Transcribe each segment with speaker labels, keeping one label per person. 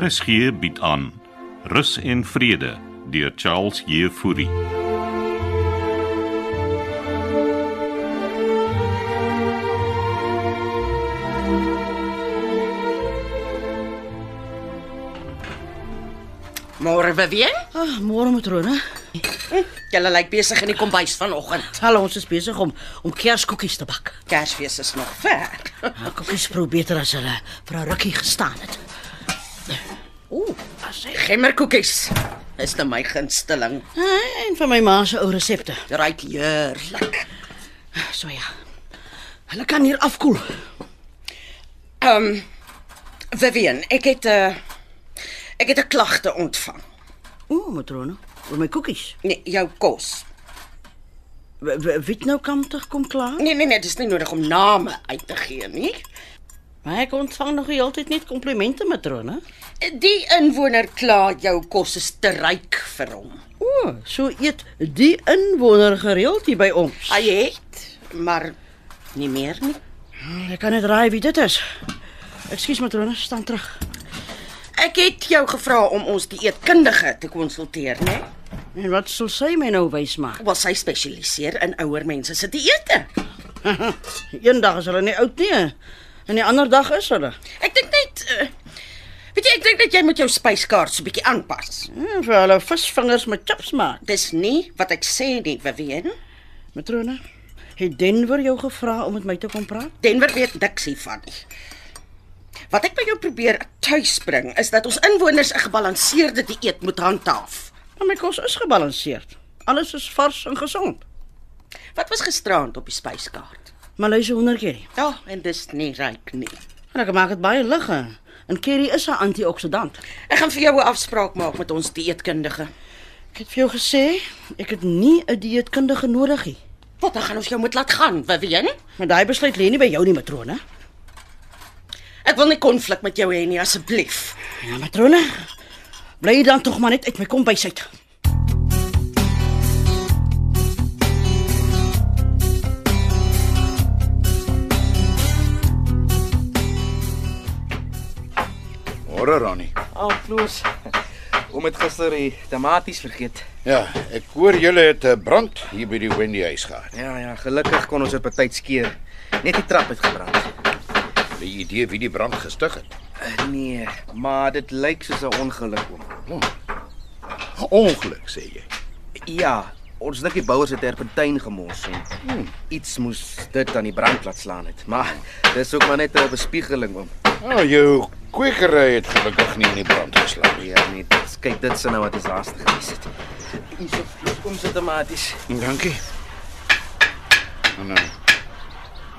Speaker 1: RSG bied aan Rus en Vrede deur Charles Jefouri.
Speaker 2: Môre Vivian,
Speaker 3: Ah, môre matrone.
Speaker 2: julle lyk besig in die kombuis vanoggend.
Speaker 3: Hallo, ons is besig om om kerskoekies te Nou, bak.
Speaker 2: Kersfees is nog ver.
Speaker 3: Maar koekies proe beter as hulle vir 'n eh, rukkie gestaan het.
Speaker 2: Ooh, gemmerkoekies. Is dit my gunsteling.
Speaker 3: Ah, En van my ma se ou resepte.
Speaker 2: Ryk heerlik.
Speaker 3: So ja. Hulle kan hier afkoel.
Speaker 2: Ehm um, Vivian, ek het 'n uh, ek het 'n klagte ontvang.
Speaker 3: Ooh, matrone, oor my koekies.
Speaker 2: Nee, jou kos.
Speaker 3: W- w- Weet nou kom terug kom klaar.
Speaker 2: Nee nee nee, dis nie nodig om name uit te gee nie.
Speaker 3: Maar ek ontvang nog heeltyd net komplimente matrone.
Speaker 2: Die inwoner kla jou kos is te ryk vir hom.
Speaker 3: Ooh, so eet die inwoner gereeld hier by ons.
Speaker 2: Hy het, maar nie meer nie.
Speaker 3: Ek Oh, kan net raai wie dit is. Ekskuus matrone, staan terug.
Speaker 2: Ek het jou gevra om ons dieetkundige te konsulteer, né? Nee?
Speaker 3: En wat sal sy my nou wys maak?
Speaker 2: Wel sy spesialiseer in ouer mense se dieete.
Speaker 3: Eendag is hulle nie oud nie en die ander dag is hulle.
Speaker 2: Ek dink net uh, weet jy ek dink dat jy moet jou spyskaart so bietjie aanpas.
Speaker 3: Hmm, vir hulle visvingers met chips maak.
Speaker 2: Dis nie wat ek sê nie, Vivian.
Speaker 3: Matrone, het Denver jou gevra om met my te kom praat?
Speaker 2: Denver weet niks hiervan nie. Wat ek by jou probeer tuisbring is dat ons inwoners 'n gebalanseerde dieet moet handhaaf.
Speaker 3: Maar my kos is gebalanseerd. Alles is vars en gesond.
Speaker 2: Wat was gisteraand op die spyskaart?
Speaker 3: Maar luister honderd keer.
Speaker 2: Ja, oh, en dis nie ryk nie.
Speaker 3: En ek maak dit baie lig. hè. En curry is 'n antioksidant.
Speaker 2: Ek gaan vir jou 'n afspraak maak met ons dieetkundige.
Speaker 3: Ek het vir jou gesê, ek het nie 'n dieetkundige nodig nie.
Speaker 2: Wat dan gaan ons jou moet laat gaan, Vivian?
Speaker 3: Maar daai besluit lê nie by jou nie, matrone.
Speaker 2: Ek wil nie konflik met jou hê nie, asseblief.
Speaker 3: Ja, matrone. Bly dan tog maar net uit my kombuis uit.
Speaker 4: Môre Ronnie.
Speaker 5: Al floors. Oom het gister die tamaties vergeet.
Speaker 4: Ja, ek hoor julle het 'n brand hier by die Wendy huis gehad.
Speaker 5: Ja ja, gelukkig kon ons dit betyds keer. Net die trap het gebrand.
Speaker 4: Het jy idee wie die brand gestig het?
Speaker 5: Nee, maar dit lyk soos 'n ongeluk oom.
Speaker 4: Ongeluk sê jy.
Speaker 5: Ja, ons dink die bouers het terpentyn gemors en hmm. iets moes dit aan die brand laat slaan het. Maar dis ook maar net 'n bespiegeling oom.
Speaker 4: Nou jou kwekery het gelukkig nie in die brand geslaan nie.
Speaker 5: Ja nee, dis, kyk dit sou nou wat is haastig gewees het. Hier so vloek oom se tamaties.
Speaker 4: Mm, Dankie. En nou.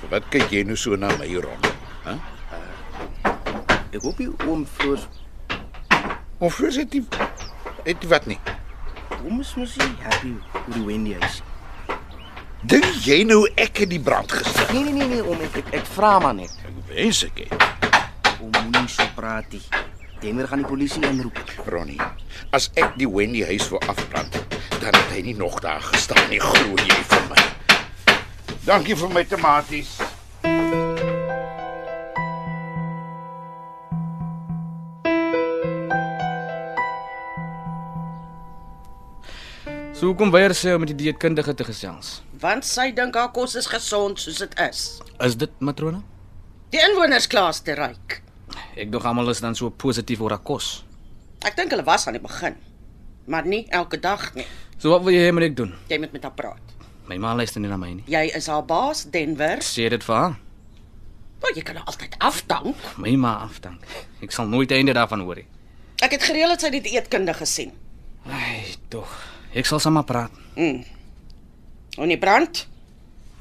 Speaker 4: vir Wat kyk jy nou so na my rond? Hæ?
Speaker 5: Ek hoop nie oom floors
Speaker 4: Of is dit nie het die wat nie?
Speaker 5: oom is mos nie happy oor die Wendy huis.
Speaker 4: Dink jy nou ek het die brand gestig?
Speaker 5: Nee nee nee nee oom, ek ek, ek vra maar net.
Speaker 4: Ek wens ek het.
Speaker 5: Om moenie so praat nie. Denver gaan die polisie inroep.
Speaker 4: Ronnie, as ek die Wendy huis wou afbrand, dan het hy nie nog daar gestaan nie, glo jy vir my. Dankie vir my tamaties.
Speaker 6: So hoekom weier sy om met die dieetkundige te gesels?
Speaker 2: Want sy dink haar kos is gesond soos dit is.
Speaker 6: Is dit matrone?
Speaker 2: Die inwoners klaas te ryk.
Speaker 6: Ek dog almal is dan so positief oor haar kos.
Speaker 2: Ek dink hulle was aan die begin, maar nie elke dag nie.
Speaker 6: So wat wil jy hê moet ek doen?
Speaker 2: Jy moet met haar praat.
Speaker 6: My ma luister nie na my nie.
Speaker 2: Jy is haar baas, Denver.
Speaker 6: Sê dit vir haar.
Speaker 2: Maar jy kan haar altyd afdank.
Speaker 6: My ma afdank. Ek sal nooit einde daarvan hoor nie.
Speaker 2: Ek het gereël dat sy die dieetkundige sien.
Speaker 6: Ai, tog. Ek sal sommer praat.
Speaker 2: En die brand,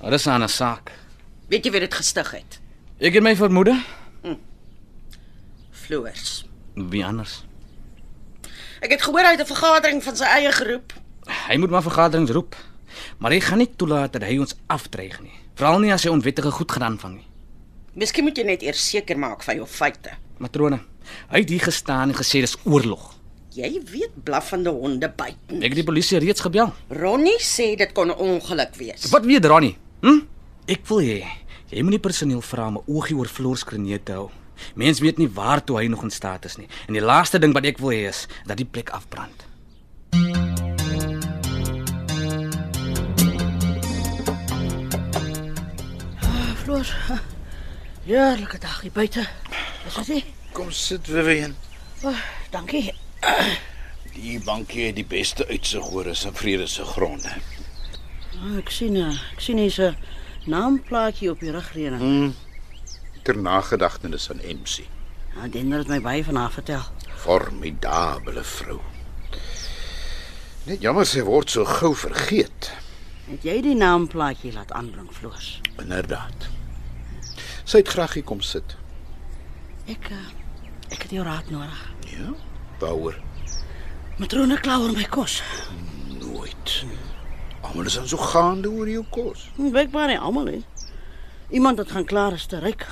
Speaker 6: Daar is 'n ander saak.
Speaker 2: weet jy wie dit gestig het?
Speaker 6: Ek het my vermoede.
Speaker 2: Floors.
Speaker 6: Wie anders?
Speaker 2: Ek het gehoor hy het 'n vergadering van sy eie groep.
Speaker 6: Hy moet maar vergaderings roep. Maar hy gaan nie toelaat dat hy ons afdreig nie. Veral nie as hy onwettige goed gaan aanvang nie.
Speaker 2: Miskien moet jy net eers seker maak van jou feite.
Speaker 6: Matrone, hy het hier gestaan en gesê dis oorlog.
Speaker 2: Jy weet blaffende honde byt. nie.
Speaker 6: Ek het die polisie reeds gebel.
Speaker 2: Ronnie sê dit kon 'n ongeluk wees.
Speaker 6: Wat weet Ronnie? Hm? Ek wil hê jy moet nie personeel vra om 'n oogie oor Floors Krone te hou Mense weet nie waartoe hy nog in staat is nie. En die laaste ding wat ek wil hê is dat die plek afbrand.
Speaker 3: Floor. Heerlike dag hier buite. Is dit nie?
Speaker 4: Kom sit, Vivian.
Speaker 3: Oh, dankie.
Speaker 4: Die bankie het die beste uitsig oor is in vrede se gronde.
Speaker 3: Ah, ek sien eh, ek sien hier's 'n naamplaatjie op die rugrene. Hmm.
Speaker 4: Ter nagedagtenis aan MC.
Speaker 3: Ja, Denner het Ah, my baie vanaand vertel.
Speaker 4: Formidabele vrou. Net jammer sy word so gou vergeet.
Speaker 3: Het jy die naamplaatjie laat aanbring, Floors?
Speaker 4: Inderdaad. Sy het graag hier kom sit.
Speaker 3: Ek eh, ek het jou raad nodig.
Speaker 4: Ja. Waaroor?
Speaker 3: Matrone kla oor my kos.
Speaker 4: Nooit. Almal is dan so gaande oor jou kos.
Speaker 3: Hm, Bykbaar nie almal hè. Iemand wat gaan klaar is te ryk.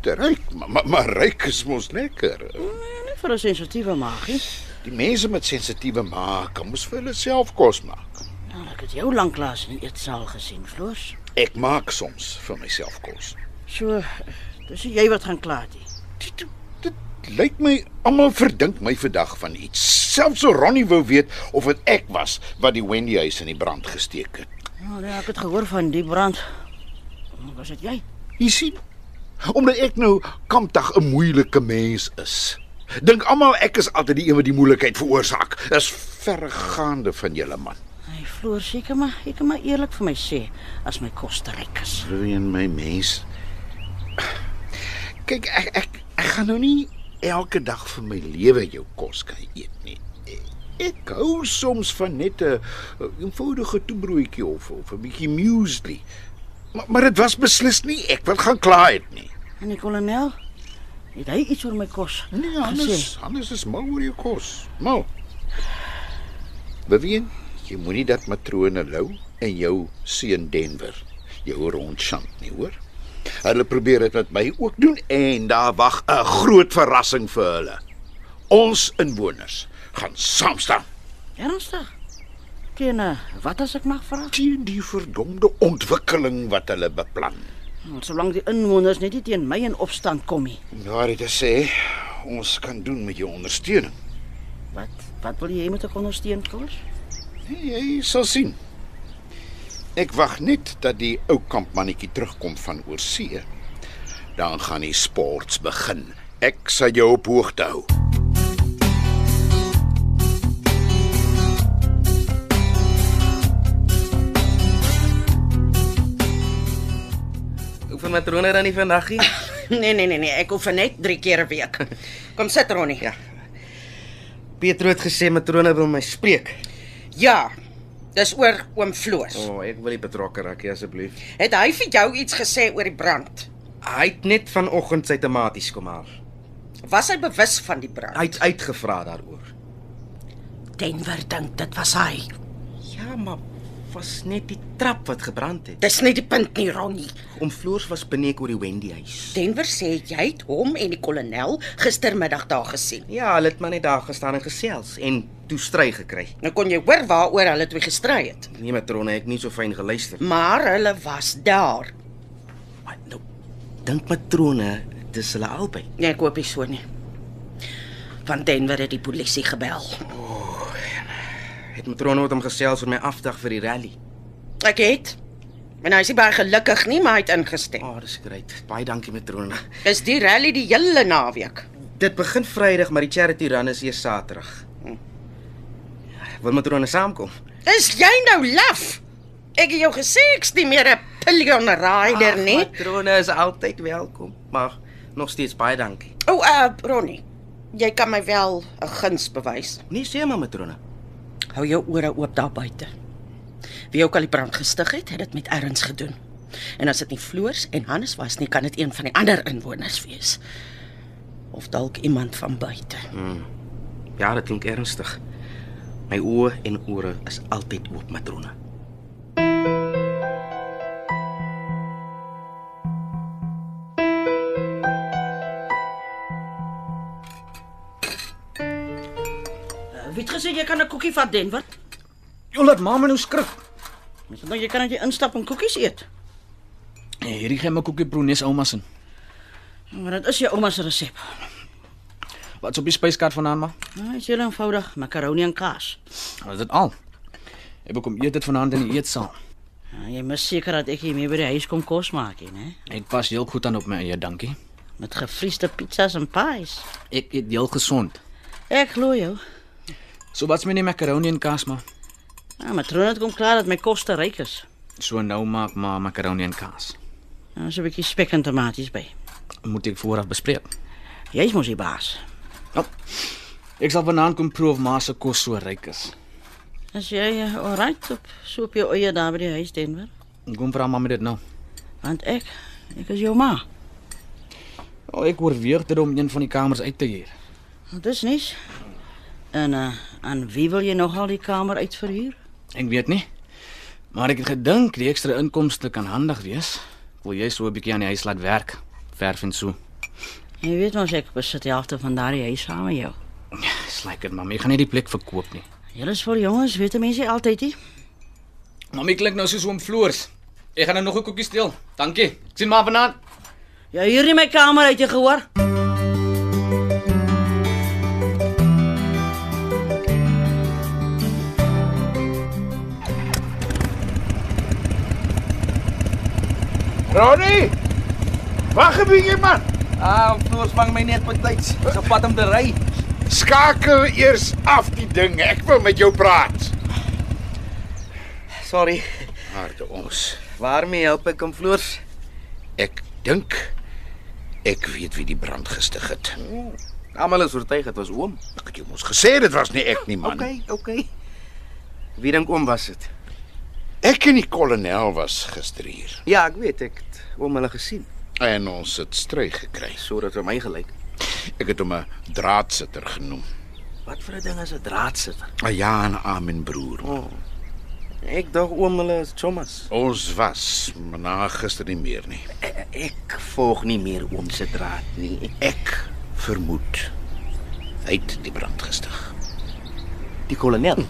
Speaker 4: Te ryk, maar maar, maar ryk is mos lekker.
Speaker 3: Nee, Hmm, nie vir 'n sensitiewe maagie.
Speaker 4: Die mense met sensitiewe maak, kan mos vir hulle self kos maak.
Speaker 3: Nou, ek het jou lank laas in die eetsaal gesien, Floors.
Speaker 4: Ek maak soms vir myself kos.
Speaker 3: So, eh, dis jy wat gaan klaar het. hè?
Speaker 4: Dit, dit, dit lyk my almal verdink my vandag van iets. Selfs so Ronnie wou weet of dit ek was wat die Wendy huis in die brand gesteek het.
Speaker 3: Nou, ja, ek het gehoor van die brand. Maar Was dit jy?
Speaker 4: Jy sien, omdat ek nou kampdag 'n moeilike mens is. Dink almal ek is altyd die een wat die moeilikheid veroorsaak. Dis verregaande van julle man.
Speaker 3: Hy vloer seker maar, ek kan maar eerlik vir my sê as my kos te ryk is.
Speaker 4: Vriend my mens. Kyk, ek ek ek gaan nou nie elke dag vir my lewe jou kos kan eet nie. Ek hou soms van net 'n 'n eenvoudige toebroodjie of of 'n bietjie muesli. Maar maar dit was beslis nie ek wat gaan klaar het nie.
Speaker 3: En die kolonel, het hy iets oor my kos?
Speaker 4: Nee, anders anders is mal oor jou kos. Mal. Beween, jy moenie dat matrone lou en jou seun Denver jou rondchant nie, hoor? Hulle probeer dit met my ook doen en daar wag 'n groot verrassing vir hulle. Ons inwoners gaan saam staan
Speaker 3: Ernstig? Ken, eh, wat as ek mag vra?
Speaker 4: teen die verdomde ontwikkeling wat hulle beplan.
Speaker 3: Want solank die inwoners net nie teen my in opstand kom nie.
Speaker 4: Daar het Nou, dit sê ons kan doen met jou ondersteuning.
Speaker 3: Wat wat wil jy hê moet ek ondersteun kos?
Speaker 4: Jy sal sien. Ek wag net dat die ou kampmannetjie terugkom van oorsee. Dan gaan die sports begin. Ek sal jou op hoogte hou.
Speaker 5: Hoeveel matrone dan nie vandag nie?
Speaker 2: Nee nee nee nee, ek hoef vir net 3 keer 'n week. Kom sit Ronnie. Ja.
Speaker 5: Pietro het gesê matrone wil my spreek.
Speaker 2: Ja. Dis oor oom Floos.
Speaker 5: O, oh, ek wil nie betrokke raak nie asseblief.
Speaker 2: Het hy vir jou iets gesê oor die brand?
Speaker 5: Hy het net vanoggend sy tomaties kom haal.
Speaker 2: Was hy bewus van die brand?
Speaker 5: Hy het uitgevra daaroor.
Speaker 2: Denver dink dit was hy.
Speaker 5: Ja, maar was net die trap wat gebrand het.
Speaker 2: Dis nie die punt nie, Ronnie.
Speaker 5: Om floors was beneek oor die Wendy huis.
Speaker 2: Denver sê jy het hom en die kolonel gistermiddag daar gesien.
Speaker 5: Ja, hulle het maar net daar gestaan en gesels en toe stry gekry.
Speaker 2: Nou kon jy hoor waaroor hulle twee gestry het.
Speaker 5: Nee, matrone, ek het nie so fyn geluister.
Speaker 2: Maar hulle was daar.
Speaker 5: Maar nou dink matrone, dis hulle albei.
Speaker 2: Nee, ek hoop nie so nie. Want Denver het die polisie gebel.
Speaker 5: Het matrone met hom gesels oor my afdag vir die rally.
Speaker 2: Ek het. En hy is nie baie gelukkig nie, maar hy het ingestem.
Speaker 5: Ah, oh, dis great. Baie dankie matrone.
Speaker 2: Dis die rally die hele naweek.
Speaker 5: Dit begin Vrydag, maar die charity run is eers Saterdag. Hm. Wil matrone saamkom?
Speaker 2: Is jy nou laf? Ek het jou gesê ek's nie meer 'n pillion rider
Speaker 5: Ag,
Speaker 2: nie.
Speaker 5: Matrone is altyd welkom, maar nog steeds baie dankie.
Speaker 2: O, oh, uh, Ronnie, jy kan my wel 'n guns bewys.
Speaker 5: Nee, sê maar matrone.
Speaker 2: Hou jou ore oop daar buite. Wie ook al die brand gestig het, het dit met erns gedoen. En as dit nie Floors en Hannes was nie, kan dit een van die ander inwoners wees. Of dalk iemand van buite.
Speaker 5: Ja, dit klink ernstig. My oë en ore is altyd oop, matrone.
Speaker 3: Uh, wie het gesê jy kan 'n koekie vat, Denver?
Speaker 6: Jy laat ma my nou skrik.
Speaker 3: Mens nou- dink jy kan net instap en koekies eet.
Speaker 6: Eh, Nee, hierdie gaan my koekie brownies oumas in.
Speaker 3: Maar dit is jou ouma se resep.
Speaker 6: Wat's op die spyskaart vanaand maar?
Speaker 3: Nou, dit is heel eenvoudig, makaroni en kaas.
Speaker 6: Is dit al? Ek bekom eet dit vanaand in die eetsaal.
Speaker 3: Nou, jy mis seker dat ek hier mee by die huis kom kos maak, hè, né?
Speaker 6: Ek was heel goed aan op my eie, dankie.
Speaker 3: Met gefriesde pizzas en pies.
Speaker 6: Ek eet heel gesond.
Speaker 3: Ek glo jou.
Speaker 6: So wat's met die macaroni en kaas maar?
Speaker 3: Nou, matrone het kom klaar dat my kos te ryk is.
Speaker 6: So nou maak maar macaroni en kaas.
Speaker 3: Nou, is 'n bietjie spek en tomaties by.
Speaker 6: Moet ek vooraf bespreek.
Speaker 3: Jy's mos die baas.
Speaker 6: Ek sal vanaand kom proef maar se kos so ryk is.
Speaker 3: As jy eh, alright op so op jou eie daar by die huis Denver,
Speaker 6: Ek kom vra maar met dit nou.
Speaker 3: want ek ek is jou ma.
Speaker 6: Oh, ek oorweeg dit om een van die kamers uit te huur.
Speaker 3: Dit is nie. En uh, aan wie wil jy nogal die kamer uitverhuur?
Speaker 6: Ek weet nie. Maar ek het gedink die ekstra inkomste kan handig wees. Ek wil jy so 'n bietjie aan die huis laat werk, verf en so.
Speaker 3: Jy weet mos ek besit die helfte van daardie huis saam met jou.
Speaker 6: Slyk dit, mami, ek gaan nie die plek verkoop nie.
Speaker 3: Julle is vol jongens, weet 'n mens nie altyd nie.
Speaker 6: Mami klink nou soos oom Floors. Ek gaan nou nog 'n koekie steel. Dankie. Ek sien maar vanaand.
Speaker 3: Jy huur nie my kamer uit, jy gehoor?
Speaker 4: Ronnie! Wag 'n bietjie man.
Speaker 5: Ah, Floors vang my net betyds. Ek op pad om te ry.
Speaker 4: Skakel eers af die ding. Ek wil met jou praat.
Speaker 5: Sorry.
Speaker 4: Harde ons.
Speaker 5: Waarmee help ek hom Floors?
Speaker 4: Ek dink ek weet wie die brand gestig het.
Speaker 5: Almal is oortuig dit was oom.
Speaker 4: Ek het jou mos gesê dit was nie ek nie man.
Speaker 5: Okay, okay. Wie dink oom was dit?
Speaker 4: Ek en die kolonel was gister hier
Speaker 5: Ja, ek weet ek het oom hulle gesien
Speaker 4: en ons het stry gekry.
Speaker 5: sodat hy my gelyk.
Speaker 4: Ek het hom 'n draadsitter genoem.
Speaker 5: Wat vir 'n ding is 'n draadsitter?
Speaker 4: Ah ja, en amen broer.
Speaker 5: Oh. Ek dink oom hulle is chommas.
Speaker 4: Ons was, maar na gister nie meer nie.
Speaker 5: E-, Ek volg nie meer oom se draad nie.
Speaker 4: Ek vermoed hy het die brand gestig.
Speaker 5: Die kolonel.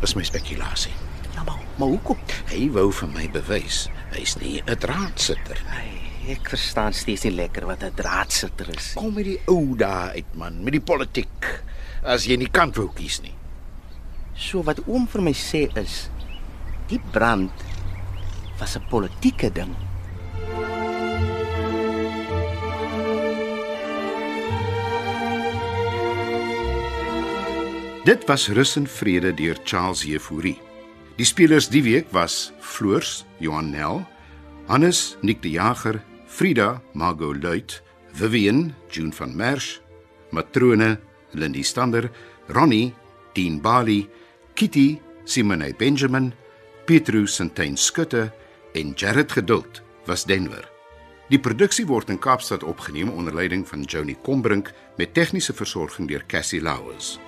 Speaker 4: Dis my spekulasie.
Speaker 5: Ja, maar, maar hoekom?
Speaker 4: Hy wou vir my bewys hy's nie 'n draadsitter nie.
Speaker 5: Hey, ek verstaan steeds nie lekker wat 'n draadsitter is.
Speaker 4: Kom met die ou daai uit man, met die politiek. As jy nie kant wou kies nie.
Speaker 5: So wat oom vir my sê is die brand was 'n politieke ding.
Speaker 4: Dit was Rus en Vrede deur Charles Jefouri. Die spelers die week was Floors, Johan Nel, Hannes, Nick die Jager, Frida, Margot Luit, Vivian, June van Merch, Matrone, Lindie Stander, Ronnie, Dean Bali, Kitty, Simone Benjamin, Pietru Sintyn Skutte en Jared Geduld was Denver. Die produksie word in Kaapstad opgeneem onder leiding van Johnny Combrink met tegniese versorging deur Cassie Lauers.